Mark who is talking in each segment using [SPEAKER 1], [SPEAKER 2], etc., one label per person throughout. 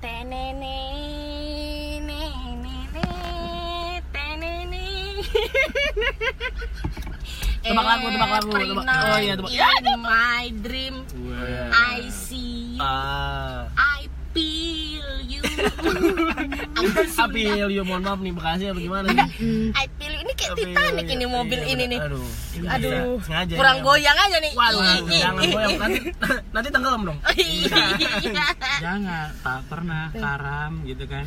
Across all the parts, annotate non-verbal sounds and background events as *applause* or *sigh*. [SPEAKER 1] tenene
[SPEAKER 2] Tebak lagu, tebak lagu, tebak- oh iya, tebak- Ya,
[SPEAKER 1] In my dream, I see, you.
[SPEAKER 2] Ah.
[SPEAKER 1] I feel
[SPEAKER 2] *laughs*
[SPEAKER 1] you.
[SPEAKER 2] Apil, yo mohon maaf nih Bekasi apa gimana nih?
[SPEAKER 1] I feel you. Ini kayak
[SPEAKER 2] Apil,
[SPEAKER 1] Titanic
[SPEAKER 2] iya,
[SPEAKER 1] ini mobil
[SPEAKER 2] iya,
[SPEAKER 1] ini nih.
[SPEAKER 2] Aduh, ini bisa.
[SPEAKER 1] Aduh,
[SPEAKER 2] sengaja.
[SPEAKER 1] kurang
[SPEAKER 2] ini.
[SPEAKER 1] goyang aja nih.
[SPEAKER 2] Waduh,
[SPEAKER 1] Ih, ih,
[SPEAKER 2] jangan
[SPEAKER 1] ih.
[SPEAKER 2] goyang nanti nanti tenggelam dong.
[SPEAKER 1] Iya.
[SPEAKER 3] jangan tak pernah karam gitu
[SPEAKER 2] *laughs*
[SPEAKER 3] kan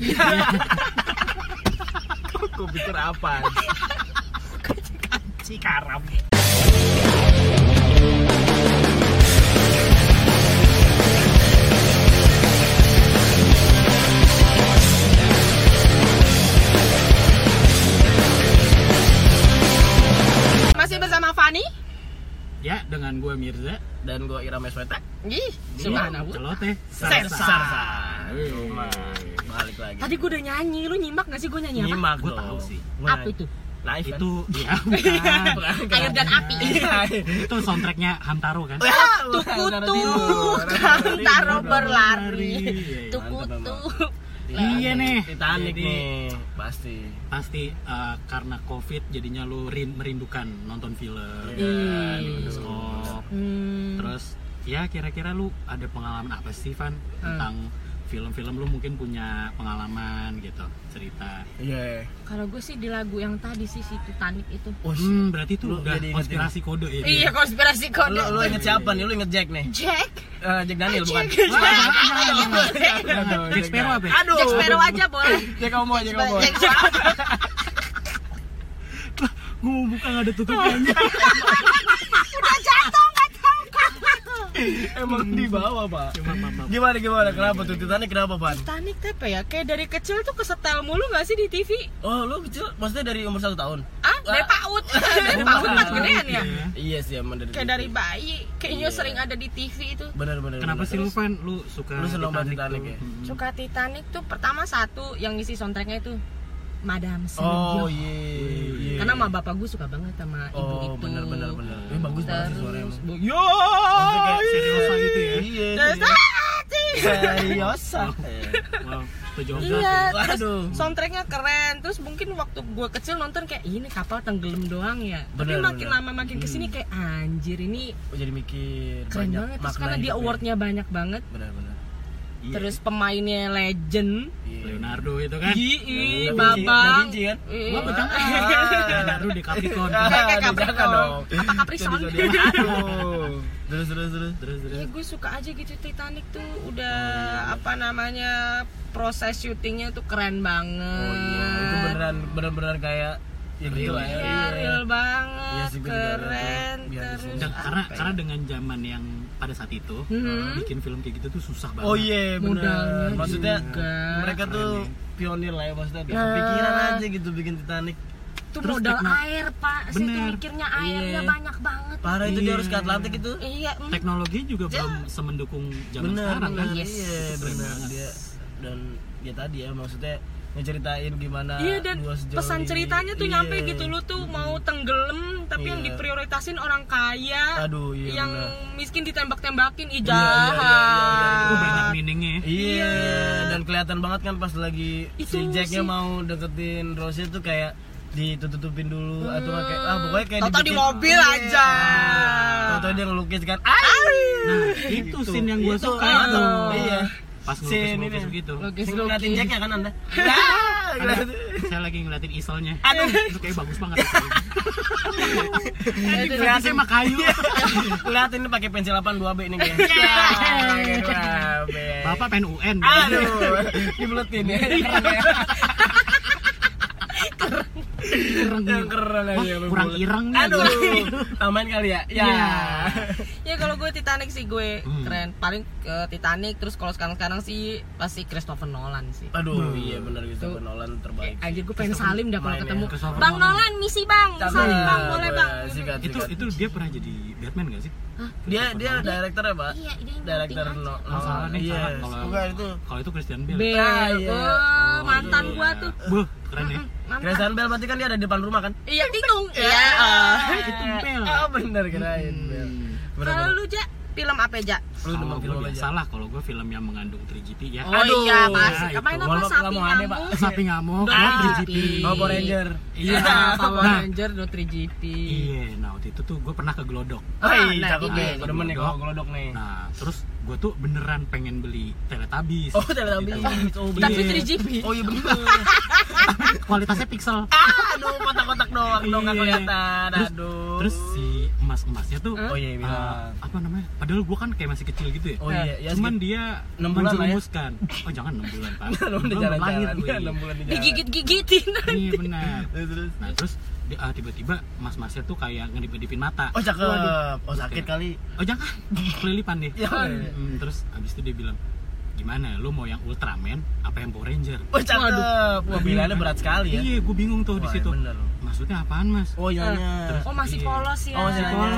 [SPEAKER 2] Aku pikir apa? Cikaram.
[SPEAKER 1] *laughs* Masih bersama Fani?
[SPEAKER 3] ya dengan gue Mirza
[SPEAKER 2] Dan gua Ira Mesweta. Iya.
[SPEAKER 1] Ih,
[SPEAKER 3] di
[SPEAKER 1] gimana Bu?
[SPEAKER 3] celoteh
[SPEAKER 1] Sersa.
[SPEAKER 2] Sarsa. Cuma balik lagi.
[SPEAKER 1] Tadi gue udah nyanyi, lu nyimak gak sih gue nyanyi apa?
[SPEAKER 2] Nyimak
[SPEAKER 3] Gua
[SPEAKER 2] dong.
[SPEAKER 3] tahu sih.
[SPEAKER 2] Gua
[SPEAKER 1] Apa
[SPEAKER 2] nanya.
[SPEAKER 1] itu?
[SPEAKER 2] Live kan?
[SPEAKER 3] itu
[SPEAKER 2] itu. *laughs*
[SPEAKER 3] ya bukan
[SPEAKER 1] Air dan api.
[SPEAKER 3] itu soundtracknya Hamtaro kan
[SPEAKER 1] Tukutu *laughs* kan taruh berlari.
[SPEAKER 3] Iya,
[SPEAKER 1] Tukutu.
[SPEAKER 3] iya nih
[SPEAKER 2] Titanic
[SPEAKER 3] Jadi,
[SPEAKER 2] nih pasti.
[SPEAKER 3] pasti eh, karena covid jadinya lu rin- merindukan nonton film
[SPEAKER 2] Iya,
[SPEAKER 3] di
[SPEAKER 2] aduh.
[SPEAKER 3] bioskop.
[SPEAKER 1] Hmm.
[SPEAKER 3] terus ya kira-kira lu ada pengalaman apa sih
[SPEAKER 2] Hmm.
[SPEAKER 3] Van tentang film-film lu mungkin punya pengalaman gitu cerita
[SPEAKER 2] Iya.
[SPEAKER 1] Kalau gue sih di lagu yang tadi sih si Titanic itu.
[SPEAKER 2] Oh, shit.
[SPEAKER 3] Hmm, berarti itu
[SPEAKER 2] Lu
[SPEAKER 3] udah
[SPEAKER 2] jadi inget
[SPEAKER 3] konspirasi kode ya.
[SPEAKER 1] Iya konspirasi
[SPEAKER 2] Lu, lu
[SPEAKER 1] kode.
[SPEAKER 2] inget siapa nih? Lu inget Jack nih?
[SPEAKER 1] Jack,
[SPEAKER 2] Eh, Jack Daniel bukan?
[SPEAKER 1] Jack, Jack,
[SPEAKER 2] Wah,
[SPEAKER 1] Jack.
[SPEAKER 2] jangan dong,
[SPEAKER 3] Jack Sparrow apa ya?
[SPEAKER 2] Aduh.
[SPEAKER 1] Jack Sparrow aja boleh.
[SPEAKER 2] Jack Omo, Jack Omo.
[SPEAKER 1] Jack Sparrow.
[SPEAKER 3] Gue mau buka nggak ada tutupannya.
[SPEAKER 2] *laughs*
[SPEAKER 1] Udah jatuh nggak tahu.
[SPEAKER 2] Emang di bawah, Pak.
[SPEAKER 3] Cuma mama.
[SPEAKER 2] Gimana gimana? Kenapa tuh Titanic kenapa, Pan?
[SPEAKER 1] Titanic tuh apa ya? Kayak dari kecil tuh kesetel mulu gak sih di TV?
[SPEAKER 2] Oh, lu kecil maksudnya dari umur satu tahun?
[SPEAKER 1] Ah, dari
[SPEAKER 2] Ah.
[SPEAKER 1] *laughs* PAUD. Dari PAUD pas gedean ya.
[SPEAKER 3] Iya.
[SPEAKER 2] Iya sih, emang dari
[SPEAKER 1] Kayak dari bayi, kayaknya
[SPEAKER 2] Iya.
[SPEAKER 1] sering ada di TV itu.
[SPEAKER 2] Bener bener.
[SPEAKER 3] Kenapa sih lu Van lu suka
[SPEAKER 2] Lu seneng banget Titanic
[SPEAKER 3] tuh?
[SPEAKER 2] ya?
[SPEAKER 3] Hmm.
[SPEAKER 1] Suka Titanic tuh pertama satu yang ngisi soundtracknya itu Madam
[SPEAKER 2] Oh
[SPEAKER 1] Sylvia.
[SPEAKER 2] iya. iya.
[SPEAKER 1] Karena sama bapak gue suka banget sama ibu
[SPEAKER 2] Oh
[SPEAKER 1] itu.
[SPEAKER 2] bener bener bener. Ini Eh, bagus banget sih suaranya.
[SPEAKER 1] Terus, Oh,
[SPEAKER 2] emang.
[SPEAKER 1] bu- yo,
[SPEAKER 3] Maksudnya kayak seriosa gitu ya.
[SPEAKER 2] Oh, Iya.
[SPEAKER 1] Terus,
[SPEAKER 2] iya.
[SPEAKER 1] ah, cing.
[SPEAKER 2] Seriosa.
[SPEAKER 3] Wow, setuju
[SPEAKER 1] Iya,
[SPEAKER 3] banget.
[SPEAKER 1] terus
[SPEAKER 2] Waduh.
[SPEAKER 1] soundtracknya keren. Terus mungkin waktu gue kecil nonton kayak "Ih, ini kapal tenggelam doang ya. Tapi
[SPEAKER 2] Bener,
[SPEAKER 1] makin
[SPEAKER 2] bener.
[SPEAKER 1] lama makin kesini kayak anjir ini
[SPEAKER 2] Gua Jadi mikir
[SPEAKER 1] keren
[SPEAKER 2] banyak
[SPEAKER 1] banget. Terus
[SPEAKER 2] makna ya.
[SPEAKER 1] karena dia
[SPEAKER 2] hidupnya.
[SPEAKER 1] awardnya banyak banget.
[SPEAKER 2] Bener bener.
[SPEAKER 3] Iya.
[SPEAKER 1] Terus pemainnya legend.
[SPEAKER 2] Iya.
[SPEAKER 3] Leonardo itu kan.
[SPEAKER 1] Ih,
[SPEAKER 2] Da Vinci- Da
[SPEAKER 1] babang.
[SPEAKER 2] Vinci kan?
[SPEAKER 1] Ih.
[SPEAKER 3] Wah,
[SPEAKER 1] *laughs*
[SPEAKER 2] *laughs*
[SPEAKER 3] betul. Leonardo di Capricorn.
[SPEAKER 2] Ah,
[SPEAKER 1] Kayak- kayak
[SPEAKER 2] aduh,
[SPEAKER 1] Capricorn.
[SPEAKER 2] jangan dong.
[SPEAKER 1] Apa Capricorn? *laughs*
[SPEAKER 2] Jadi zodiak. Aduh. Terus terus terus terus
[SPEAKER 1] Ya
[SPEAKER 2] terus.
[SPEAKER 1] gue suka aja gitu Titanic tuh udah
[SPEAKER 2] Oh, iya.
[SPEAKER 1] apa namanya proses syutingnya tuh keren banget.
[SPEAKER 2] Oh iya, itu beneran beneran kayak ya gitu lah ya.
[SPEAKER 1] Iya, real banget,
[SPEAKER 2] Iya sih, Iya, gue juga ada
[SPEAKER 1] keren.
[SPEAKER 2] tuh. Biar
[SPEAKER 1] Terus
[SPEAKER 2] disini.
[SPEAKER 3] Dan karena
[SPEAKER 1] apa ya?
[SPEAKER 3] karena dengan zaman yang pada saat itu
[SPEAKER 1] Mhm.
[SPEAKER 3] bikin film kayak gitu tuh susah banget.
[SPEAKER 2] Mm-hmm. Oh iya,
[SPEAKER 1] Modalnya
[SPEAKER 2] benar. Maksudnya
[SPEAKER 1] juga. Iya.
[SPEAKER 2] mereka tuh pionir lah ya maksudnya.
[SPEAKER 1] Nah.
[SPEAKER 2] Pikiran aja gitu bikin Titanic.
[SPEAKER 1] itu
[SPEAKER 3] terus
[SPEAKER 1] modal
[SPEAKER 3] tekno-
[SPEAKER 1] air pak, saya tuh
[SPEAKER 3] Bener.
[SPEAKER 1] mikirnya airnya
[SPEAKER 2] Iya.
[SPEAKER 1] banyak banget.
[SPEAKER 2] Parah itu dia
[SPEAKER 3] Iya.
[SPEAKER 2] harus ke Atlantik itu.
[SPEAKER 1] Iya, mm.
[SPEAKER 3] Teknologi juga belum semendukung zaman
[SPEAKER 2] Bener,
[SPEAKER 3] sekarang
[SPEAKER 2] bener.
[SPEAKER 3] kan.
[SPEAKER 1] Yes.
[SPEAKER 2] Iya,
[SPEAKER 3] Keren
[SPEAKER 2] bener.
[SPEAKER 3] banget.
[SPEAKER 2] Dia dan ya tadi ya maksudnya ngeceritain gimana
[SPEAKER 1] Iya dan
[SPEAKER 2] gua sejauh
[SPEAKER 1] pesan
[SPEAKER 2] ini.
[SPEAKER 1] ceritanya tuh
[SPEAKER 2] Iya.
[SPEAKER 1] nyampe gitu lu tuh mau tenggelam tapi yang
[SPEAKER 2] Iya.
[SPEAKER 1] diprioritasin orang kaya,
[SPEAKER 2] Aduh, iya
[SPEAKER 1] yang
[SPEAKER 2] bener.
[SPEAKER 1] miskin ditembak-tembakin
[SPEAKER 2] iya,
[SPEAKER 1] ijahat.
[SPEAKER 2] iya, iya,
[SPEAKER 3] Oh, banyak meaningnya. ya.
[SPEAKER 2] Iya, dan kelihatan banget kan pas lagi
[SPEAKER 1] Itu
[SPEAKER 2] si
[SPEAKER 1] sih.
[SPEAKER 2] Jacknya mau deketin Rose tuh kayak ditutupin dulu atau nggak kayak ah pokoknya kayak
[SPEAKER 1] Tau-tau di
[SPEAKER 2] dibikin-
[SPEAKER 1] mobil
[SPEAKER 2] Iya.
[SPEAKER 1] aja.
[SPEAKER 2] Tau-tau dia ngelukis kan. Ah,
[SPEAKER 3] Nah, itu scene yang gue
[SPEAKER 2] Itu,
[SPEAKER 3] suka
[SPEAKER 2] ah,
[SPEAKER 3] itu.
[SPEAKER 2] Iya.
[SPEAKER 3] Pas
[SPEAKER 2] Scene
[SPEAKER 3] ngelukis-ngelukis
[SPEAKER 2] ini.
[SPEAKER 3] gitu.
[SPEAKER 1] Lukis-
[SPEAKER 2] Sing ngeliatin Jack ya kan Anda?
[SPEAKER 1] *laughs*
[SPEAKER 3] Ada- saya lagi ngeliatin isolnya.
[SPEAKER 2] Aduh. Eh.
[SPEAKER 3] Itu kayak bagus banget.
[SPEAKER 2] Iya.
[SPEAKER 3] Kreasi
[SPEAKER 2] Ngeliatin
[SPEAKER 3] sama kayu. Iya.
[SPEAKER 2] ngeliatin ini Iya. pakai pensil 82B nih kayaknya. Ya, pakai 82B.
[SPEAKER 3] Bapak pengen UN.
[SPEAKER 2] Aduh, dibuletin ya. Keren
[SPEAKER 3] Iya.
[SPEAKER 2] ya.
[SPEAKER 3] Ireng.
[SPEAKER 2] Yang keren
[SPEAKER 3] Wah,
[SPEAKER 2] aja,
[SPEAKER 3] kurang
[SPEAKER 2] bulet.
[SPEAKER 3] ireng nih.
[SPEAKER 2] Iya, Aduh, aman kali ya? Ya.
[SPEAKER 3] Iya.
[SPEAKER 1] Ya kalau gue Titanic sih gue keren. Paling ke Titanic terus kalau sekarang-sekarang sih pasti Christopher Nolan sih.
[SPEAKER 2] Aduh, iya benar gitu Nolan terbaik.
[SPEAKER 1] Anjir gue pengen salim dah kalau
[SPEAKER 2] mainnya
[SPEAKER 1] ketemu.
[SPEAKER 3] Christopher
[SPEAKER 1] Bang
[SPEAKER 3] Nolan.
[SPEAKER 1] Nolan misi Bang,
[SPEAKER 2] Tapi-
[SPEAKER 1] salim Bang, boleh
[SPEAKER 2] Boleh,
[SPEAKER 1] Bang.
[SPEAKER 2] sikat,
[SPEAKER 3] Itu
[SPEAKER 2] sikat.
[SPEAKER 3] itu dia pernah jadi Batman gak sih?
[SPEAKER 2] dia dia direktur ya, Pak?
[SPEAKER 1] Iya, dia yang
[SPEAKER 2] Direktur
[SPEAKER 1] penting
[SPEAKER 2] no,
[SPEAKER 3] Oh, salah nih,
[SPEAKER 2] Iya,
[SPEAKER 3] salah. Kalau-
[SPEAKER 2] bukan itu.
[SPEAKER 3] Kalau itu Christian Bale.
[SPEAKER 1] Bel,
[SPEAKER 2] Ah, iya.
[SPEAKER 1] ya. oh, eh, mantan
[SPEAKER 3] iya.
[SPEAKER 1] gua tuh.
[SPEAKER 3] Buh, keren ya.
[SPEAKER 1] Mantan.
[SPEAKER 2] Kristen Bell berarti kan dia ada di depan rumah kan?
[SPEAKER 1] Iya, tikung. Iya. eh.
[SPEAKER 3] Itu Hmm. Bell.
[SPEAKER 2] Oh, Ah. bener kirain Bell. Bener,
[SPEAKER 1] Kalau
[SPEAKER 2] bener.
[SPEAKER 1] lu, Ja, film apa aja?
[SPEAKER 2] Lu demen
[SPEAKER 3] Kalau
[SPEAKER 2] film ya?
[SPEAKER 3] gue
[SPEAKER 2] apa aja?
[SPEAKER 3] salah iya. kalau gue film yang mengandung 3GP ya.
[SPEAKER 1] Oh
[SPEAKER 2] Aduh,
[SPEAKER 1] iya pasti.
[SPEAKER 3] ya,
[SPEAKER 1] Kemarin
[SPEAKER 3] itu.
[SPEAKER 1] apa
[SPEAKER 2] Walaupun
[SPEAKER 1] sapi
[SPEAKER 2] nggak mau ada, Pak.
[SPEAKER 1] nyambung?
[SPEAKER 3] Sapi ngamuk,
[SPEAKER 1] Ah,
[SPEAKER 3] oh 3GP.
[SPEAKER 1] tapi-
[SPEAKER 2] Power Ranger.
[SPEAKER 1] *laughs*
[SPEAKER 2] Ah,
[SPEAKER 1] Iya,
[SPEAKER 3] *laughs* Iya.
[SPEAKER 1] Power
[SPEAKER 3] Nah,
[SPEAKER 1] Ranger do 3GP.
[SPEAKER 3] Iya, nah waktu itu tuh gue pernah ke Glodok.
[SPEAKER 1] Ah,
[SPEAKER 2] Hei,
[SPEAKER 1] nah,
[SPEAKER 2] cakep
[SPEAKER 1] ini.
[SPEAKER 2] nih. Gue iya, demen nih kalau gelodok nih.
[SPEAKER 3] Nah, terus gue tuh beneran pengen beli Teletubbies. Gitu.
[SPEAKER 2] Oh, Teletubbies. Oh,
[SPEAKER 1] Tapi
[SPEAKER 2] bener.
[SPEAKER 1] 3GP.
[SPEAKER 2] Oh iya bener.
[SPEAKER 3] Ah, Kualitasnya pixel.
[SPEAKER 2] *laughs* Aduh, kotak-kotak doang dong nggak
[SPEAKER 3] Iya.
[SPEAKER 2] kelihatan.
[SPEAKER 3] Terus-
[SPEAKER 2] Aduh.
[SPEAKER 3] Terus si emas-emasnya tuh
[SPEAKER 2] Oh iya, bilang.
[SPEAKER 3] eh, apa namanya? Padahal gue kan kayak masih kecil gitu ya.
[SPEAKER 2] Oh iya, ya
[SPEAKER 3] Cuman
[SPEAKER 2] *laughs*
[SPEAKER 3] dia
[SPEAKER 2] Enam bulan lah ya.
[SPEAKER 3] menjerumuskan. Oh jangan 6 bulan,
[SPEAKER 2] *laughs*
[SPEAKER 3] Pak.
[SPEAKER 2] lu
[SPEAKER 3] Belum
[SPEAKER 2] udah jalan-jalan.
[SPEAKER 3] lahir,
[SPEAKER 2] Iya,
[SPEAKER 3] wih.
[SPEAKER 2] enam bulan di jalan.
[SPEAKER 1] Digigit-gigitin.
[SPEAKER 3] Iya benar.
[SPEAKER 2] Terus, terus.
[SPEAKER 3] Nah terus di- ah, tiba-tiba mas-masnya tuh kayak ngedip-ngedipin mata.
[SPEAKER 2] Oh cakep.
[SPEAKER 3] Waduh.
[SPEAKER 2] Oh sakit
[SPEAKER 3] Kayak,
[SPEAKER 2] kali.
[SPEAKER 3] Oh jangan, kelilipan deh.
[SPEAKER 2] Ya, iya.
[SPEAKER 3] Hmm, terus abis itu dia bilang, gimana? Lu mau yang Ultraman apa yang Power Ranger?
[SPEAKER 2] Oh cakep. Wah, pilihannya
[SPEAKER 3] Iya,
[SPEAKER 2] berat sekali ya.
[SPEAKER 3] Iya, gue bingung tuh di
[SPEAKER 2] Wah,
[SPEAKER 3] situ.
[SPEAKER 2] bener.
[SPEAKER 3] Maksudnya apaan mas?
[SPEAKER 2] Oh iya.
[SPEAKER 1] Eh,
[SPEAKER 2] iya.
[SPEAKER 3] terus-
[SPEAKER 1] Oh masih
[SPEAKER 3] Iya.
[SPEAKER 1] polos ya.
[SPEAKER 2] Oh masih
[SPEAKER 3] Iya.
[SPEAKER 2] polos.
[SPEAKER 3] Iya.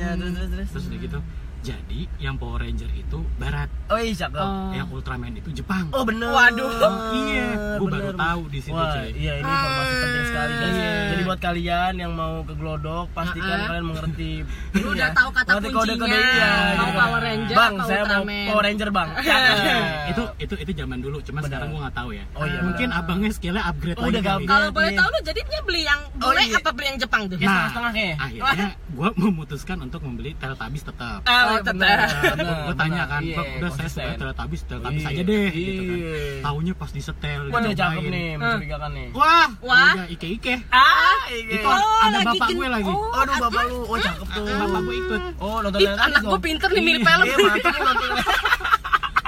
[SPEAKER 2] Iya, Terus terus terus.
[SPEAKER 3] Terus udah gitu, jadi yang Power Ranger itu Barat,
[SPEAKER 2] Oh iya cakep.
[SPEAKER 3] yang Ultraman itu Jepang.
[SPEAKER 2] Oh bener.
[SPEAKER 1] Waduh.
[SPEAKER 2] *laughs*
[SPEAKER 3] Iya, gua baru
[SPEAKER 2] Bener.
[SPEAKER 3] tahu di situ,
[SPEAKER 2] Wah,
[SPEAKER 3] cuy.
[SPEAKER 2] iya ini
[SPEAKER 1] Ah.
[SPEAKER 2] informasi penting sekali guys.
[SPEAKER 3] Iya.
[SPEAKER 2] Jadi buat kalian yang mau ke Glodok, pastikan
[SPEAKER 1] Ha-ha.
[SPEAKER 2] kalian mengerti.
[SPEAKER 1] Ah, *laughs*
[SPEAKER 2] Iya.
[SPEAKER 1] Lu udah tahu kata kuncinya.
[SPEAKER 3] Mau
[SPEAKER 1] Power Ranger
[SPEAKER 2] gitu. Bang,
[SPEAKER 1] apa
[SPEAKER 2] saya
[SPEAKER 1] Ultraman?
[SPEAKER 2] mau Power Ranger,
[SPEAKER 1] *laughs*
[SPEAKER 2] Bang.
[SPEAKER 3] Nah,
[SPEAKER 2] Cakep.
[SPEAKER 3] itu itu itu zaman dulu, cuma
[SPEAKER 2] Benar.
[SPEAKER 3] sekarang gue nggak tahu ya.
[SPEAKER 2] iya. Oh iya,
[SPEAKER 3] Mungkin
[SPEAKER 2] benar.
[SPEAKER 3] abangnya skillnya upgrade
[SPEAKER 2] Oh,
[SPEAKER 3] lagi.
[SPEAKER 2] udah
[SPEAKER 3] kali.
[SPEAKER 2] gampang.
[SPEAKER 1] Kalau boleh tahu lu jadinya beli yang
[SPEAKER 2] Oh,
[SPEAKER 1] boleh
[SPEAKER 2] iya.
[SPEAKER 1] apa beli yang Jepang tuh?
[SPEAKER 2] Ya, setengah-setengah kayaknya.
[SPEAKER 3] Nah, akhirnya gue memutuskan untuk membeli Teletubbies tetap.
[SPEAKER 1] Oh,
[SPEAKER 2] iya,
[SPEAKER 1] tetap. *laughs*
[SPEAKER 2] bener, bener,
[SPEAKER 3] gue tanya kan,
[SPEAKER 2] iya,
[SPEAKER 3] "Bang, udah saya
[SPEAKER 2] konsisten.
[SPEAKER 3] suka Teletubbies, Teletubbies
[SPEAKER 2] Iya.
[SPEAKER 3] aja deh, gitu kan.
[SPEAKER 2] Iya.
[SPEAKER 3] Taunya pas disetel,
[SPEAKER 2] Waduh, cakep
[SPEAKER 3] dicobain.
[SPEAKER 2] nih, mencurigakan nih.
[SPEAKER 3] Wah,
[SPEAKER 1] Ah. Wah.
[SPEAKER 3] udah ike-ike.
[SPEAKER 2] Ah, iya.
[SPEAKER 3] Itu ada
[SPEAKER 1] oh, lagi
[SPEAKER 3] bapak
[SPEAKER 1] kin-
[SPEAKER 3] gue lagi.
[SPEAKER 1] Oh,
[SPEAKER 2] Aduh, bapak lu. Oh, cakep tuh.
[SPEAKER 3] Bapak gue ikut.
[SPEAKER 2] Oh, nonton
[SPEAKER 1] Ih,
[SPEAKER 2] Teletubbies
[SPEAKER 1] anak
[SPEAKER 2] dong.
[SPEAKER 1] gue pinter nih mirip film.
[SPEAKER 2] Iya, mantap nih, mantap nih.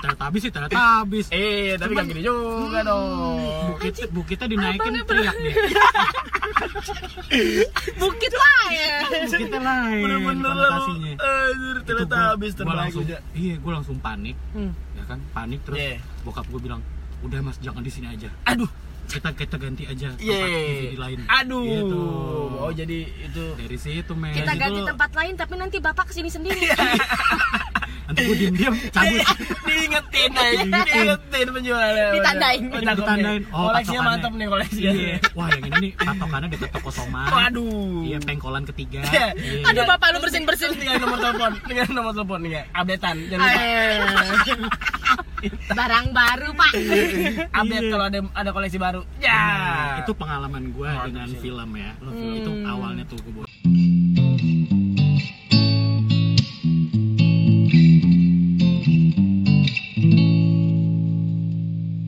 [SPEAKER 3] Teletubbies sih Teletubbies.
[SPEAKER 2] Eh, tapi
[SPEAKER 3] Cuman- Hmm.
[SPEAKER 2] gak gini juga dong.
[SPEAKER 3] Bukit, bukitnya dinaikin
[SPEAKER 1] Abangnya
[SPEAKER 3] teriak deh.
[SPEAKER 2] *laughs*
[SPEAKER 1] Bukit lah ya.
[SPEAKER 3] Iya. Bukitnya lain
[SPEAKER 2] Bener-bener lah lu.
[SPEAKER 3] konotasinya.
[SPEAKER 2] Anjir,
[SPEAKER 3] Itu
[SPEAKER 2] ternyata
[SPEAKER 3] gua-
[SPEAKER 2] habis
[SPEAKER 3] gua
[SPEAKER 2] terbaik
[SPEAKER 3] langsung-
[SPEAKER 2] aja.
[SPEAKER 3] Iya, gue langsung panik.
[SPEAKER 1] Hmm.
[SPEAKER 3] Ya kan, panik terus
[SPEAKER 2] Iya.
[SPEAKER 3] bokap gue bilang, "Udah Mas, jangan di sini aja.
[SPEAKER 2] Aduh.
[SPEAKER 3] Kita kita ganti aja tempat
[SPEAKER 2] Iya,
[SPEAKER 3] DVD
[SPEAKER 2] Yeay.
[SPEAKER 3] lain."
[SPEAKER 2] Aduh.
[SPEAKER 3] Gitu.
[SPEAKER 2] Oh, jadi itu
[SPEAKER 3] Dari situ, men.
[SPEAKER 1] Kita
[SPEAKER 3] Dari
[SPEAKER 1] ganti
[SPEAKER 2] *laughs*
[SPEAKER 3] situ,
[SPEAKER 1] tempat lain tapi nanti bapak kesini sendiri.
[SPEAKER 3] Nanti gue
[SPEAKER 2] *laughs*
[SPEAKER 3] diem-diem cabut.
[SPEAKER 2] Iya. diingetin aja diingetin penjualnya
[SPEAKER 1] Ditandain.
[SPEAKER 2] Oh, cakep
[SPEAKER 3] Iya. Ditandain.
[SPEAKER 2] nih.
[SPEAKER 3] Oh,
[SPEAKER 2] koleksinya
[SPEAKER 3] patokannya.
[SPEAKER 2] mantep nih koleksinya Oh,
[SPEAKER 3] Iya. Wah, yang ini nih patokannya dekat toko somai.
[SPEAKER 2] waduh
[SPEAKER 3] Iya, pengkolan ketiga.
[SPEAKER 2] Iya.
[SPEAKER 3] Iya.
[SPEAKER 1] Aduh bapak lu bersin-bersin.
[SPEAKER 2] dengan nomor telepon dengan nomor telepon nih kayak updatean jangan lupa
[SPEAKER 1] Barang baru pak.
[SPEAKER 2] update kalau ada ada koleksi baru ya
[SPEAKER 3] Nah, Iya. itu pengalaman gue
[SPEAKER 2] Mantap
[SPEAKER 3] dengan
[SPEAKER 2] sih. Hmm.
[SPEAKER 3] film ya. Itu awalnya tuh gue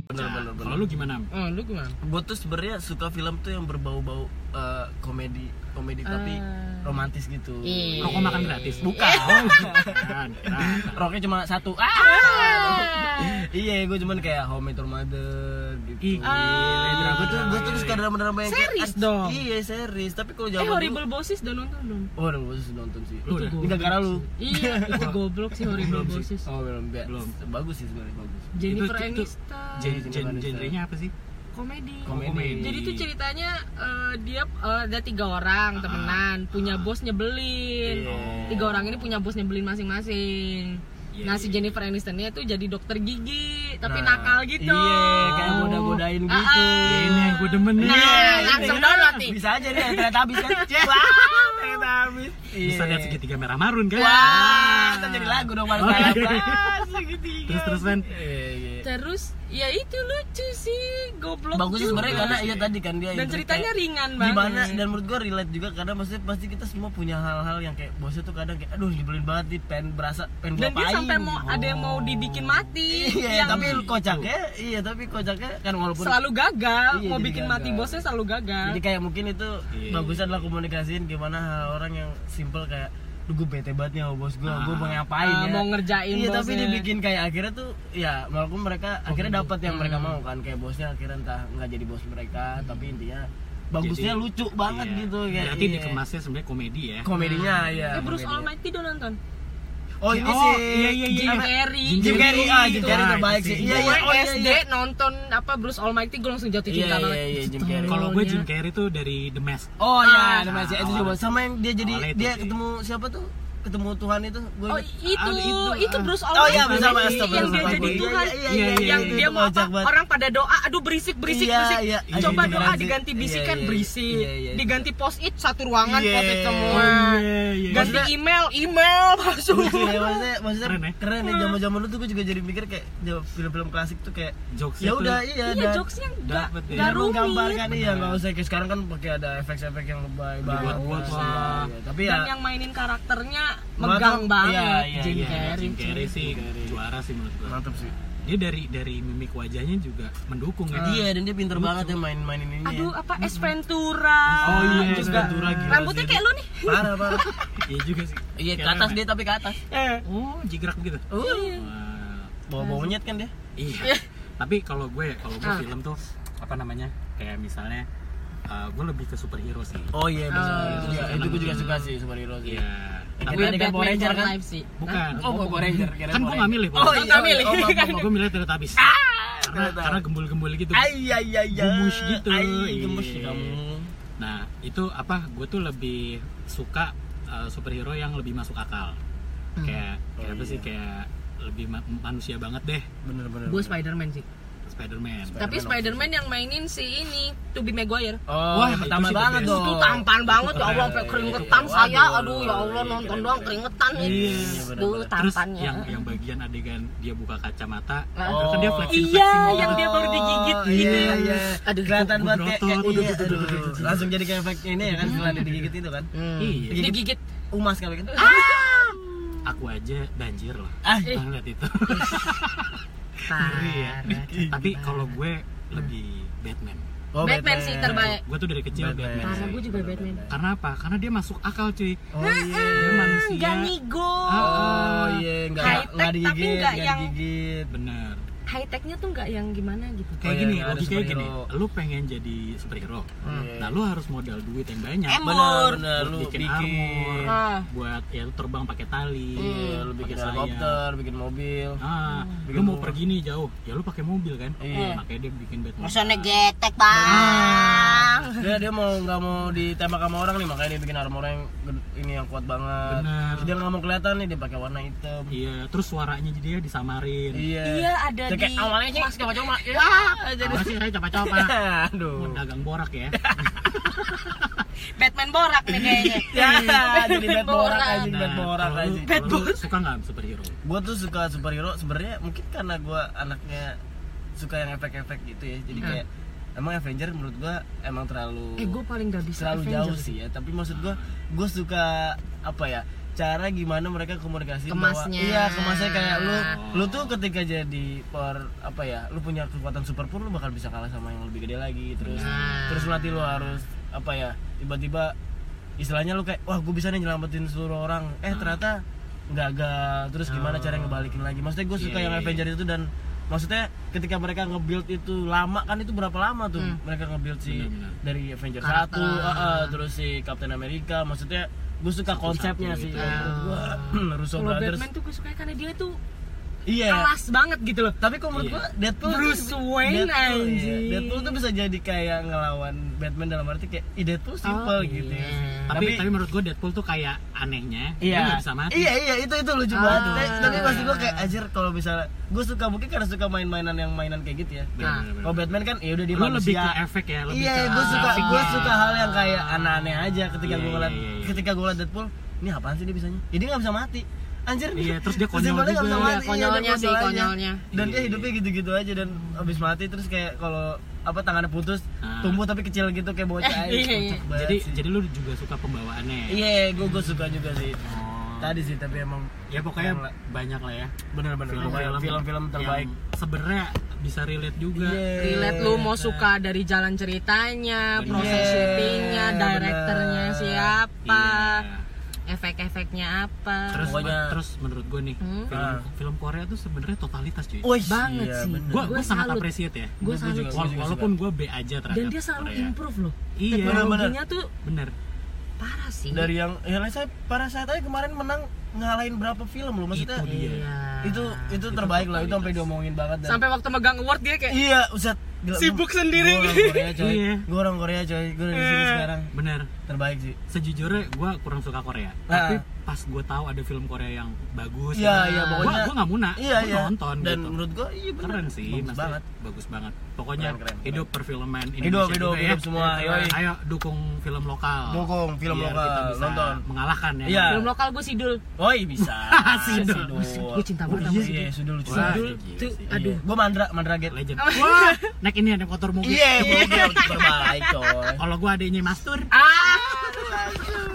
[SPEAKER 2] bener-bener
[SPEAKER 3] Kalau lu gimana?
[SPEAKER 1] Oh lu gimana?
[SPEAKER 2] gue tuh sebenarnya suka film tuh yang berbau-bau eh, komedi komedi tapi romantis gitu
[SPEAKER 1] Iya.
[SPEAKER 3] Rokok makan gratis?
[SPEAKER 2] Bukan.
[SPEAKER 3] Oh, *laughs* bukan. Kira-
[SPEAKER 2] roknya cuma satu ah iya gue cuman kayak home to mother gitu Ah.
[SPEAKER 3] Ih, gila,
[SPEAKER 2] Gue
[SPEAKER 3] itu
[SPEAKER 2] tuh gue tuh suka drama-drama yang kayak-
[SPEAKER 1] Series dong.
[SPEAKER 2] Iya series, tapi kalau
[SPEAKER 1] Eh
[SPEAKER 2] zaman dulu Oh,
[SPEAKER 1] horrible bosses udah nonton belum?
[SPEAKER 2] Waduh, gue sudah nonton sih.
[SPEAKER 3] Lu udah?
[SPEAKER 2] Ini gara-gara lu.
[SPEAKER 1] Iya, itu goblok sih horrible
[SPEAKER 3] Belum sih.
[SPEAKER 1] bosses.
[SPEAKER 2] Oh, belum,
[SPEAKER 3] Belum.
[SPEAKER 2] belum. Bagus sih sebenarnya bagus.
[SPEAKER 1] Jennifer
[SPEAKER 3] itu- itu-
[SPEAKER 1] Aniston.
[SPEAKER 2] Iya,
[SPEAKER 3] Gen- gen- Genrenya apa sih?
[SPEAKER 1] komedi.
[SPEAKER 2] Komedi.
[SPEAKER 1] Jadi tuh ceritanya eh, dia eh, ada tiga orang temenan, punya bos nyebelin.
[SPEAKER 2] Ah. Iya.
[SPEAKER 1] Tiga orang ini punya bos nyebelin masing-masing.
[SPEAKER 3] Iya,
[SPEAKER 1] nah si Jennifer Anistonnya tuh jadi dokter gigi, tapi
[SPEAKER 2] Nah,
[SPEAKER 1] nakal gitu.
[SPEAKER 2] Iya, kayak goda-godain
[SPEAKER 1] Ah,
[SPEAKER 2] gitu.
[SPEAKER 1] ah.
[SPEAKER 3] Ini yang gue demen nih.
[SPEAKER 1] Nah,
[SPEAKER 2] iya,
[SPEAKER 1] langsung
[SPEAKER 2] iya.
[SPEAKER 1] download nih.
[SPEAKER 2] Bisa aja deh, ternyata habis
[SPEAKER 1] *laughs*
[SPEAKER 2] kan. Wah, ternyata habis.
[SPEAKER 3] Bisa
[SPEAKER 2] Iya.
[SPEAKER 3] lihat segitiga merah marun kan?
[SPEAKER 2] Wah, kan jadi lagu dong Mas. *laughs*
[SPEAKER 3] Oh, iya.
[SPEAKER 2] Wah, segitiga.
[SPEAKER 3] Terus terusan.
[SPEAKER 2] Iya, iya.
[SPEAKER 1] Terus ya itu lucu sih, goblok.
[SPEAKER 2] Bagusnya
[SPEAKER 1] juga.
[SPEAKER 2] sebenarnya karena iya tadi kan dia
[SPEAKER 1] dan
[SPEAKER 2] itu
[SPEAKER 1] ceritanya
[SPEAKER 2] kayak-
[SPEAKER 1] ringan banget.
[SPEAKER 2] gimana dan menurut gua relate juga karena maksudnya pasti kita semua punya hal-hal yang kayak bosnya tuh kadang kayak aduh nyebelin banget nih pengen berasa pengen
[SPEAKER 1] dan
[SPEAKER 2] gua
[SPEAKER 1] dia
[SPEAKER 2] apain.
[SPEAKER 1] sampai mau ada yang mau dibikin mati,
[SPEAKER 2] iya
[SPEAKER 1] yang gitu.
[SPEAKER 2] tapi kocaknya iya tapi kocaknya kan walaupun
[SPEAKER 1] selalu gagal,
[SPEAKER 2] Iya,
[SPEAKER 1] mau
[SPEAKER 2] jadi
[SPEAKER 1] bikin mati
[SPEAKER 2] gagal.
[SPEAKER 1] bosnya selalu gagal.
[SPEAKER 2] jadi kayak mungkin itu
[SPEAKER 3] Iya.
[SPEAKER 2] bagusnya adalah komunikasiin gimana hal orang yang simple kayak duh gue bete banget nih sama bos gua gua mau ngapain
[SPEAKER 1] Ah,
[SPEAKER 2] ya
[SPEAKER 1] mau ngerjain
[SPEAKER 2] iya tapi
[SPEAKER 1] bosnya.
[SPEAKER 2] dibikin kayak akhirnya tuh ya walaupun mereka
[SPEAKER 3] Oh, gitu.
[SPEAKER 2] akhirnya dapat yang mereka
[SPEAKER 3] Hmm.
[SPEAKER 2] mau kan kayak bosnya akhirnya entah nggak jadi bos mereka tapi intinya bagusnya
[SPEAKER 3] Jadi,
[SPEAKER 2] lucu banget
[SPEAKER 3] Iya.
[SPEAKER 2] gitu kayak
[SPEAKER 3] Berarti
[SPEAKER 2] iya.
[SPEAKER 3] dikemasnya sebenarnya komedi ya?
[SPEAKER 2] komedinya ya
[SPEAKER 1] Eh, Bruce Almighty udah nonton?
[SPEAKER 2] oh ini
[SPEAKER 3] Oh,
[SPEAKER 2] sih
[SPEAKER 3] iya, iya, iya.
[SPEAKER 1] Jim
[SPEAKER 2] Apa?
[SPEAKER 1] Carrey.
[SPEAKER 2] Jim Carrey ah Jim Carrey
[SPEAKER 3] Wah,
[SPEAKER 2] terbaik
[SPEAKER 3] itu
[SPEAKER 2] sih
[SPEAKER 3] sih.
[SPEAKER 2] iya
[SPEAKER 1] Gue
[SPEAKER 2] iya oh, iya,
[SPEAKER 1] SD
[SPEAKER 2] iya
[SPEAKER 1] nonton apa Bruce Almighty gue langsung jatuh
[SPEAKER 2] Iya,
[SPEAKER 1] cinta
[SPEAKER 2] iya
[SPEAKER 1] banget.
[SPEAKER 2] iya Jim Carrey
[SPEAKER 3] Kalau gue Jim Carrey tuh dari The Mask.
[SPEAKER 2] oh iya
[SPEAKER 1] Nah,
[SPEAKER 3] Ah,
[SPEAKER 2] sama si itu coba sama yang dia jadi
[SPEAKER 3] awalnya itu
[SPEAKER 2] dia
[SPEAKER 3] sih.
[SPEAKER 2] ketemu siapa tuh ketemu Tuhan Ah, itu gue
[SPEAKER 1] Oh itu,
[SPEAKER 3] itu,
[SPEAKER 1] itu,
[SPEAKER 3] ah.
[SPEAKER 1] Bruce
[SPEAKER 2] Oh, iya,
[SPEAKER 1] Almighty
[SPEAKER 2] Bruce Almighty,
[SPEAKER 1] yang
[SPEAKER 2] Bruce
[SPEAKER 1] dia jadi
[SPEAKER 2] Almighty.
[SPEAKER 1] Tuhan,
[SPEAKER 2] Iya,
[SPEAKER 3] iya, iya,
[SPEAKER 1] yang
[SPEAKER 2] iya,
[SPEAKER 1] dia
[SPEAKER 2] itu
[SPEAKER 1] mau apa?
[SPEAKER 2] ngajak banget.
[SPEAKER 1] Orang pada doa, aduh berisik, berisik,
[SPEAKER 2] Iya,
[SPEAKER 1] berisik.
[SPEAKER 2] iya, iya,
[SPEAKER 1] Coba
[SPEAKER 2] iya,
[SPEAKER 1] doa
[SPEAKER 2] iya,
[SPEAKER 1] diganti
[SPEAKER 2] iya,
[SPEAKER 1] bisikan
[SPEAKER 2] iya,
[SPEAKER 1] berisik,
[SPEAKER 2] iya, iya, iya.
[SPEAKER 1] diganti post it satu ruangan
[SPEAKER 2] Iya.
[SPEAKER 1] post it
[SPEAKER 3] Oh,
[SPEAKER 1] semua.
[SPEAKER 3] iya, iya.
[SPEAKER 1] Ganti
[SPEAKER 2] Maksudnya-
[SPEAKER 1] email, email *laughs* masuk.
[SPEAKER 2] lucu ya maksudnya maksudnya
[SPEAKER 3] Keren ya?
[SPEAKER 2] keren ya zaman zaman dulu tuh gue juga jadi mikir kayak jauh- film-film klasik tuh kayak
[SPEAKER 3] Jokes
[SPEAKER 2] ya
[SPEAKER 3] itu
[SPEAKER 2] udah iya
[SPEAKER 1] Iya,
[SPEAKER 2] dan-
[SPEAKER 1] jokesnya nggak
[SPEAKER 3] Dapet ya.
[SPEAKER 1] nggak
[SPEAKER 2] dan
[SPEAKER 1] rumit.
[SPEAKER 2] menggambarkan iya
[SPEAKER 3] Bener.
[SPEAKER 2] nggak usah kayak sekarang kan pakai ada efek-efek yang lebay banget
[SPEAKER 3] Dibuat-buat
[SPEAKER 2] Iya,
[SPEAKER 3] lah.
[SPEAKER 2] iya. tapi ya
[SPEAKER 1] Dan yang mainin karakternya
[SPEAKER 2] Banget,
[SPEAKER 1] megang
[SPEAKER 2] iya,
[SPEAKER 1] banget,
[SPEAKER 2] iya,
[SPEAKER 1] Jim
[SPEAKER 3] Iya,
[SPEAKER 1] Carrey.
[SPEAKER 3] Jim Carrey sih
[SPEAKER 2] Jim Carrey.
[SPEAKER 3] juara sih menurut gua.
[SPEAKER 2] mantep sih
[SPEAKER 3] Dia dari dari mimik wajahnya juga mendukung ya.
[SPEAKER 2] iya dan dia pinter banget ya main-mainin ini
[SPEAKER 1] Aduh, apa es Ventura.
[SPEAKER 3] Oh,
[SPEAKER 1] juga.
[SPEAKER 3] iya, Es
[SPEAKER 2] Ventura, gila
[SPEAKER 1] Rambutnya
[SPEAKER 2] sih.
[SPEAKER 1] kayak lu nih.
[SPEAKER 2] parah parah
[SPEAKER 3] Iya juga sih. ya.
[SPEAKER 2] iya ke
[SPEAKER 3] Kayak
[SPEAKER 2] atas
[SPEAKER 3] apa?
[SPEAKER 2] dia uh, tapi ke atas
[SPEAKER 3] Oh, jigrak
[SPEAKER 2] gitu.
[SPEAKER 3] begitu.
[SPEAKER 1] Iya.
[SPEAKER 3] Wah,
[SPEAKER 2] bawa bawa monyet kan dia
[SPEAKER 3] Iya. Tapi kalau gue ya, kalau gue
[SPEAKER 1] Ah.
[SPEAKER 3] film tuh apa namanya? Kayak misalnya eh, gue lebih ke superhero sih.
[SPEAKER 2] oh iya bisa
[SPEAKER 1] Oh.
[SPEAKER 2] Itu juga- itu gue juga suka sih superhero sih
[SPEAKER 3] Iya. Tapi
[SPEAKER 2] Tadi kan Power Ranger
[SPEAKER 1] for
[SPEAKER 2] kan?
[SPEAKER 1] life sih.
[SPEAKER 3] bukan.
[SPEAKER 2] Oh, Power Ranger, kirain
[SPEAKER 3] Kan gue
[SPEAKER 2] Power
[SPEAKER 3] nggak
[SPEAKER 2] Ranger.
[SPEAKER 3] milih.
[SPEAKER 2] Oh, iya,
[SPEAKER 3] Power
[SPEAKER 2] Ah!
[SPEAKER 3] Ranger.
[SPEAKER 1] Nggak milih.
[SPEAKER 2] oh, maaf, maaf,
[SPEAKER 3] Kalau
[SPEAKER 2] maaf.
[SPEAKER 3] gue milih Teletubbies. Karena,
[SPEAKER 2] Teletubbies.
[SPEAKER 3] karena gembul-gembul gitu.
[SPEAKER 2] Ay, ay, ay, ay.
[SPEAKER 3] Gumus gitu.
[SPEAKER 2] Ay,
[SPEAKER 3] Iya.
[SPEAKER 2] gemes sih kamu.
[SPEAKER 3] Nah, itu apa? Gue tuh lebih suka uh, superhero yang lebih masuk akal. Kayak
[SPEAKER 2] Oh,
[SPEAKER 3] kayak apa
[SPEAKER 2] iya.
[SPEAKER 3] sih? Kayak lebih ma- manusia banget deh,
[SPEAKER 2] Bener, *laughs*
[SPEAKER 1] Gue
[SPEAKER 2] bener. bener.
[SPEAKER 1] iya. Spider-Man sih.
[SPEAKER 3] Spider-Man.
[SPEAKER 2] Spider-
[SPEAKER 1] Tapi Spider-Man yang mainin si ini, Tobey Maguire.
[SPEAKER 2] Oh,
[SPEAKER 3] Wah,
[SPEAKER 2] yang
[SPEAKER 3] itu
[SPEAKER 2] pertama
[SPEAKER 3] sih the
[SPEAKER 2] banget
[SPEAKER 3] best.
[SPEAKER 2] dong.
[SPEAKER 1] Itu tampan banget ya Allah sampai
[SPEAKER 2] Iya,
[SPEAKER 1] keringetan
[SPEAKER 2] iya, iya.
[SPEAKER 1] saya.
[SPEAKER 2] Waduh,
[SPEAKER 1] Aduh ya Allah
[SPEAKER 2] iya,
[SPEAKER 1] nonton doang
[SPEAKER 2] keren, keren.
[SPEAKER 1] keringetan ini.
[SPEAKER 2] Iya, bener-bener.
[SPEAKER 1] Duh
[SPEAKER 3] Terus
[SPEAKER 1] tampannya.
[SPEAKER 3] yang yang bagian adegan dia buka kacamata,
[SPEAKER 1] Ah.
[SPEAKER 3] terus kan dia
[SPEAKER 2] Oh.
[SPEAKER 3] flexing
[SPEAKER 1] Iya,
[SPEAKER 3] flexing.
[SPEAKER 1] yang dia baru digigit
[SPEAKER 2] Oh,
[SPEAKER 1] gitu.
[SPEAKER 2] Iya, iya.
[SPEAKER 1] Aduh,
[SPEAKER 2] kelihatan banget
[SPEAKER 3] gua
[SPEAKER 2] kayak
[SPEAKER 3] berotot.
[SPEAKER 2] kayak-
[SPEAKER 3] Aduh,
[SPEAKER 2] iya,
[SPEAKER 3] aduh,
[SPEAKER 2] aduh.
[SPEAKER 3] aduh, aduh, aduh.
[SPEAKER 2] Langsung jadi kayak efek ini ya kan setelah dia digigit itu kan.
[SPEAKER 1] Hmm.
[SPEAKER 3] Iya.
[SPEAKER 1] Digigit.
[SPEAKER 2] Umas kali kan.
[SPEAKER 1] Ah,
[SPEAKER 3] Aku aja banjir loh.
[SPEAKER 2] Ah,
[SPEAKER 1] Eh.
[SPEAKER 3] Banget
[SPEAKER 2] *laughs*
[SPEAKER 3] itu. Iya.
[SPEAKER 1] Parah.
[SPEAKER 3] Tapi kalau gue
[SPEAKER 2] Hmm.
[SPEAKER 3] lebih Batman.
[SPEAKER 2] oh,
[SPEAKER 1] Batman sih terbaik.
[SPEAKER 3] Gue tuh dari kecil Batman.
[SPEAKER 1] Parah,
[SPEAKER 3] sih.
[SPEAKER 1] gue juga Batman.
[SPEAKER 3] Karena apa? Karena dia masuk akal cuy.
[SPEAKER 2] Oh iya.
[SPEAKER 3] Dia manusia.
[SPEAKER 1] Hmm, Gak nigo.
[SPEAKER 2] Oh iya, enggak
[SPEAKER 1] High tech,
[SPEAKER 2] enggak
[SPEAKER 1] tapi
[SPEAKER 2] digigit,
[SPEAKER 1] nggak
[SPEAKER 2] enggak
[SPEAKER 1] yang-
[SPEAKER 2] digigit.
[SPEAKER 3] Bener.
[SPEAKER 1] High tech-nya tuh nggak yang gimana gitu.
[SPEAKER 3] kayak
[SPEAKER 2] Oh, iya,
[SPEAKER 3] gini
[SPEAKER 2] yang ada
[SPEAKER 3] logikanya gini
[SPEAKER 2] superhero.
[SPEAKER 3] lu pengen jadi superhero
[SPEAKER 2] Hmm.
[SPEAKER 3] nah lu harus modal duit yang banyak
[SPEAKER 1] Em-
[SPEAKER 2] Benar,
[SPEAKER 1] Armor.
[SPEAKER 2] benar
[SPEAKER 3] Buat
[SPEAKER 2] lu
[SPEAKER 3] bikin,
[SPEAKER 2] bikin
[SPEAKER 3] armor
[SPEAKER 1] Ah.
[SPEAKER 3] buat ya lu terbang pakai tali
[SPEAKER 2] Iya,
[SPEAKER 1] Mm.
[SPEAKER 2] lu bikin
[SPEAKER 3] pakai sayap.
[SPEAKER 2] helikopter, bikin mobil.
[SPEAKER 3] ah, lu
[SPEAKER 2] Bikin
[SPEAKER 3] mau
[SPEAKER 2] rumah.
[SPEAKER 3] pergi nih jauh ya lu pakai mobil kan
[SPEAKER 2] Iya.
[SPEAKER 3] makanya dia bikin Batman
[SPEAKER 1] Maksudnya getek bang.
[SPEAKER 2] Dia dia mau nggak mau ditembak sama orang nih makanya dia bikin armor yang ged- ini yang kuat banget.
[SPEAKER 3] Benar.
[SPEAKER 2] Dia nggak mau kelihatan nih dia pakai warna hitam.
[SPEAKER 3] iya terus suaranya jadi dia disamarin
[SPEAKER 2] Iya.
[SPEAKER 1] Iya ada
[SPEAKER 2] Dia
[SPEAKER 1] di. Ah,
[SPEAKER 2] kayak awalnya sih mas coba-coba. Ya, jadi
[SPEAKER 3] Apa sih saya coba-coba
[SPEAKER 2] aduh.
[SPEAKER 3] Mau *laughs* dagang borak ya
[SPEAKER 1] Batman borak nih kayaknya.
[SPEAKER 2] Ya, jadi bad borak
[SPEAKER 1] Borak.
[SPEAKER 2] anjing, bad borak
[SPEAKER 3] kalau lu-
[SPEAKER 2] anjing.
[SPEAKER 3] kalau lu suka nggak superhero
[SPEAKER 2] Gue tuh suka superhero sebenarnya mungkin karena gue anaknya suka yang efek-efek gitu ya. Jadi kayak emang Avenger menurut gue emang terlalu
[SPEAKER 1] Hmm. Eh gue paling gak bisa
[SPEAKER 2] terlalu
[SPEAKER 1] Avenger.
[SPEAKER 2] jauh sih ya tapi maksud gua gua suka apa ya cara gimana mereka komunikasi bahwa-
[SPEAKER 1] Kemasnya.
[SPEAKER 2] iya kemasnya kayak lu lu tuh ketika jadi per apa ya lu punya kekuatan super pun lu bakal bisa kalah sama yang lebih gede lagi terus
[SPEAKER 1] Nah.
[SPEAKER 2] terus nanti lu harus apa ya tiba-tiba istilahnya lu kayak wah gue bisa nih nyelamatin seluruh orang eh ternyata gagal terus gimana cara ngebalikin lagi maksudnya gue suka
[SPEAKER 3] Iya,
[SPEAKER 2] yang
[SPEAKER 3] iya,
[SPEAKER 2] Avenger itu dan maksudnya ketika mereka nge-build itu lama kan itu berapa lama tuh mereka nge-build si
[SPEAKER 3] Benar-benar.
[SPEAKER 2] dari Avenger
[SPEAKER 1] Karakter.
[SPEAKER 2] satu ah, ah, terus si Captain America maksudnya gue suka konsepnya sih
[SPEAKER 3] gitu.
[SPEAKER 2] menurut gua *clears throat* Russo
[SPEAKER 1] Kalau
[SPEAKER 2] Brothers
[SPEAKER 1] Batman tuh gue suka karena dia tuh
[SPEAKER 2] iya
[SPEAKER 1] kelas banget gitu loh.
[SPEAKER 2] tapi kalau menurut
[SPEAKER 3] Iya.
[SPEAKER 2] gua Deadpool tuh-
[SPEAKER 1] Bruce Wayne,
[SPEAKER 2] Deadpool, iya.
[SPEAKER 1] anjing.
[SPEAKER 2] Deadpool tuh bisa jadi kayak ngelawan Batman dalam arti kayak "Ih, Deadpool simple gitu ya.
[SPEAKER 3] tapi tapi menurut gue Deadpool tuh kayak anehnya dia
[SPEAKER 2] Iya.
[SPEAKER 3] nggak bisa mati Ah.
[SPEAKER 2] Iya iya itu itu lucu banget. Tapi, tapi pasti gue kayak anjir kalau misalnya gue suka mungkin karena suka main-mainan yang mainan kayak gitu ya.
[SPEAKER 3] Benar-benar.
[SPEAKER 2] Kalau Batman kan ya udah dia
[SPEAKER 3] Iya, lu
[SPEAKER 2] manusia.
[SPEAKER 3] lebih ke efek ya lebih
[SPEAKER 2] iya,
[SPEAKER 3] ke
[SPEAKER 2] gue suka
[SPEAKER 3] grafiknya.
[SPEAKER 2] gue suka hal yang kayak aneh-aneh aja ketika
[SPEAKER 3] Iya,
[SPEAKER 2] gue ngeliat
[SPEAKER 3] iya, iya.
[SPEAKER 2] ketika gue ngeliat Deadpool, ini apaan sih dia bisanya? Jadi nggak bisa mati. Anjir.
[SPEAKER 3] Iya, terus dia konyol
[SPEAKER 2] simbolnya nggak
[SPEAKER 3] juga.
[SPEAKER 2] bisa mati,
[SPEAKER 1] Iya,
[SPEAKER 2] iya,
[SPEAKER 1] konyolnya
[SPEAKER 2] dia
[SPEAKER 1] sih,
[SPEAKER 2] konyol aja.
[SPEAKER 1] konyolnya.
[SPEAKER 2] Dan
[SPEAKER 3] Iya,
[SPEAKER 2] dia
[SPEAKER 3] iya.
[SPEAKER 2] hidupnya gitu-gitu aja dan abis mati terus kayak kalau apa tangannya putus,
[SPEAKER 3] Ah.
[SPEAKER 2] tumbuh tapi kecil gitu kayak bocah aja.
[SPEAKER 1] *laughs* Iya, iya.
[SPEAKER 2] Kocak banget
[SPEAKER 3] jadi
[SPEAKER 2] sih.
[SPEAKER 3] jadi lu juga suka pembawaannya ya?
[SPEAKER 2] Iya, gue gue suka juga sih. Tadi sih tapi emang
[SPEAKER 3] ya pokoknya banyak lah ya
[SPEAKER 2] bener-bener pokoknya film-film terbaik.
[SPEAKER 3] yang sebenarnya bisa relate juga
[SPEAKER 2] Iya.
[SPEAKER 1] Relate lu mau suka dari jalan ceritanya, proses
[SPEAKER 2] Iya,
[SPEAKER 1] syutingnya, direkturnya
[SPEAKER 2] bener.
[SPEAKER 1] siapa,
[SPEAKER 3] Iya.
[SPEAKER 1] efek-efeknya apa.
[SPEAKER 3] terus
[SPEAKER 2] Pokoknya-
[SPEAKER 3] terus menurut gue nih film
[SPEAKER 2] Ah.
[SPEAKER 3] film Korea tuh sebenarnya totalitas cuy
[SPEAKER 2] Wih,
[SPEAKER 1] Banget sih.
[SPEAKER 2] Iya, bener.
[SPEAKER 3] gue
[SPEAKER 1] Gua
[SPEAKER 3] sangat
[SPEAKER 1] salut.
[SPEAKER 3] appreciate ya
[SPEAKER 1] Gue salut.
[SPEAKER 2] juga.
[SPEAKER 3] Wala-
[SPEAKER 2] suka.
[SPEAKER 3] walaupun gue B aja terhadap
[SPEAKER 1] Dan dia selalu
[SPEAKER 3] Korea.
[SPEAKER 1] improve loh.
[SPEAKER 3] iya
[SPEAKER 2] Bener-bener.
[SPEAKER 1] Teknologinya tuh
[SPEAKER 3] bener
[SPEAKER 1] parah sih.
[SPEAKER 2] dari yang ya saya para saya tadi kemarin menang ngalahin berapa film loh maksudnya Iya.
[SPEAKER 3] Itu dia.
[SPEAKER 2] itu itu terbaik loh itu sampai diomongin banget dan
[SPEAKER 1] Nah. Sampai waktu megang award dia kayak
[SPEAKER 2] iya usat
[SPEAKER 1] Sibuk sendiri.
[SPEAKER 2] gue orang Korea coy
[SPEAKER 3] Iya.
[SPEAKER 2] gue orang Korea coy gue udah di sini sekarang
[SPEAKER 3] bener
[SPEAKER 2] terbaik sih
[SPEAKER 3] sejujurnya gue kurang suka Korea
[SPEAKER 2] Ah.
[SPEAKER 3] tapi pas gue tahu ada film Korea yang bagus
[SPEAKER 2] Iya,
[SPEAKER 3] gitu,
[SPEAKER 2] iya,
[SPEAKER 3] gua-
[SPEAKER 2] pokoknya-
[SPEAKER 3] gua nggak muna
[SPEAKER 2] iya
[SPEAKER 3] gua
[SPEAKER 2] iya
[SPEAKER 3] nonton
[SPEAKER 2] dan
[SPEAKER 3] gitu
[SPEAKER 2] menurut gua iya bener.
[SPEAKER 3] keren sih
[SPEAKER 2] bagus
[SPEAKER 3] maksudnya.
[SPEAKER 2] banget
[SPEAKER 3] bagus banget pokoknya
[SPEAKER 2] Keren, keren, keren.
[SPEAKER 3] hidup perfilman Indonesia
[SPEAKER 2] Hidup,
[SPEAKER 3] juga
[SPEAKER 2] hidup,
[SPEAKER 3] ya.
[SPEAKER 2] hidup semua, yoi.
[SPEAKER 3] ayo dukung film lokal
[SPEAKER 2] Dukung film
[SPEAKER 3] Oh, Biar
[SPEAKER 2] lokal,
[SPEAKER 3] kita bisa
[SPEAKER 2] nonton.
[SPEAKER 3] mengalahkan ya
[SPEAKER 2] Iya.
[SPEAKER 1] Film lokal gue Sidul.
[SPEAKER 2] Woi bisa
[SPEAKER 3] Sidul.
[SPEAKER 1] Gua cinta banget
[SPEAKER 2] Oh,
[SPEAKER 1] sama
[SPEAKER 2] iya, iya, Sidul lucu
[SPEAKER 3] Wah,
[SPEAKER 2] banget.
[SPEAKER 1] Sidul
[SPEAKER 3] gila
[SPEAKER 1] tuh,
[SPEAKER 3] sih.
[SPEAKER 1] aduh.
[SPEAKER 2] Gua mandra mandraget
[SPEAKER 3] legend wah naik ini naik motor mobil
[SPEAKER 2] Iya, gua bilang terbaik coy
[SPEAKER 3] kalau gue adanya Mastur
[SPEAKER 1] Ah.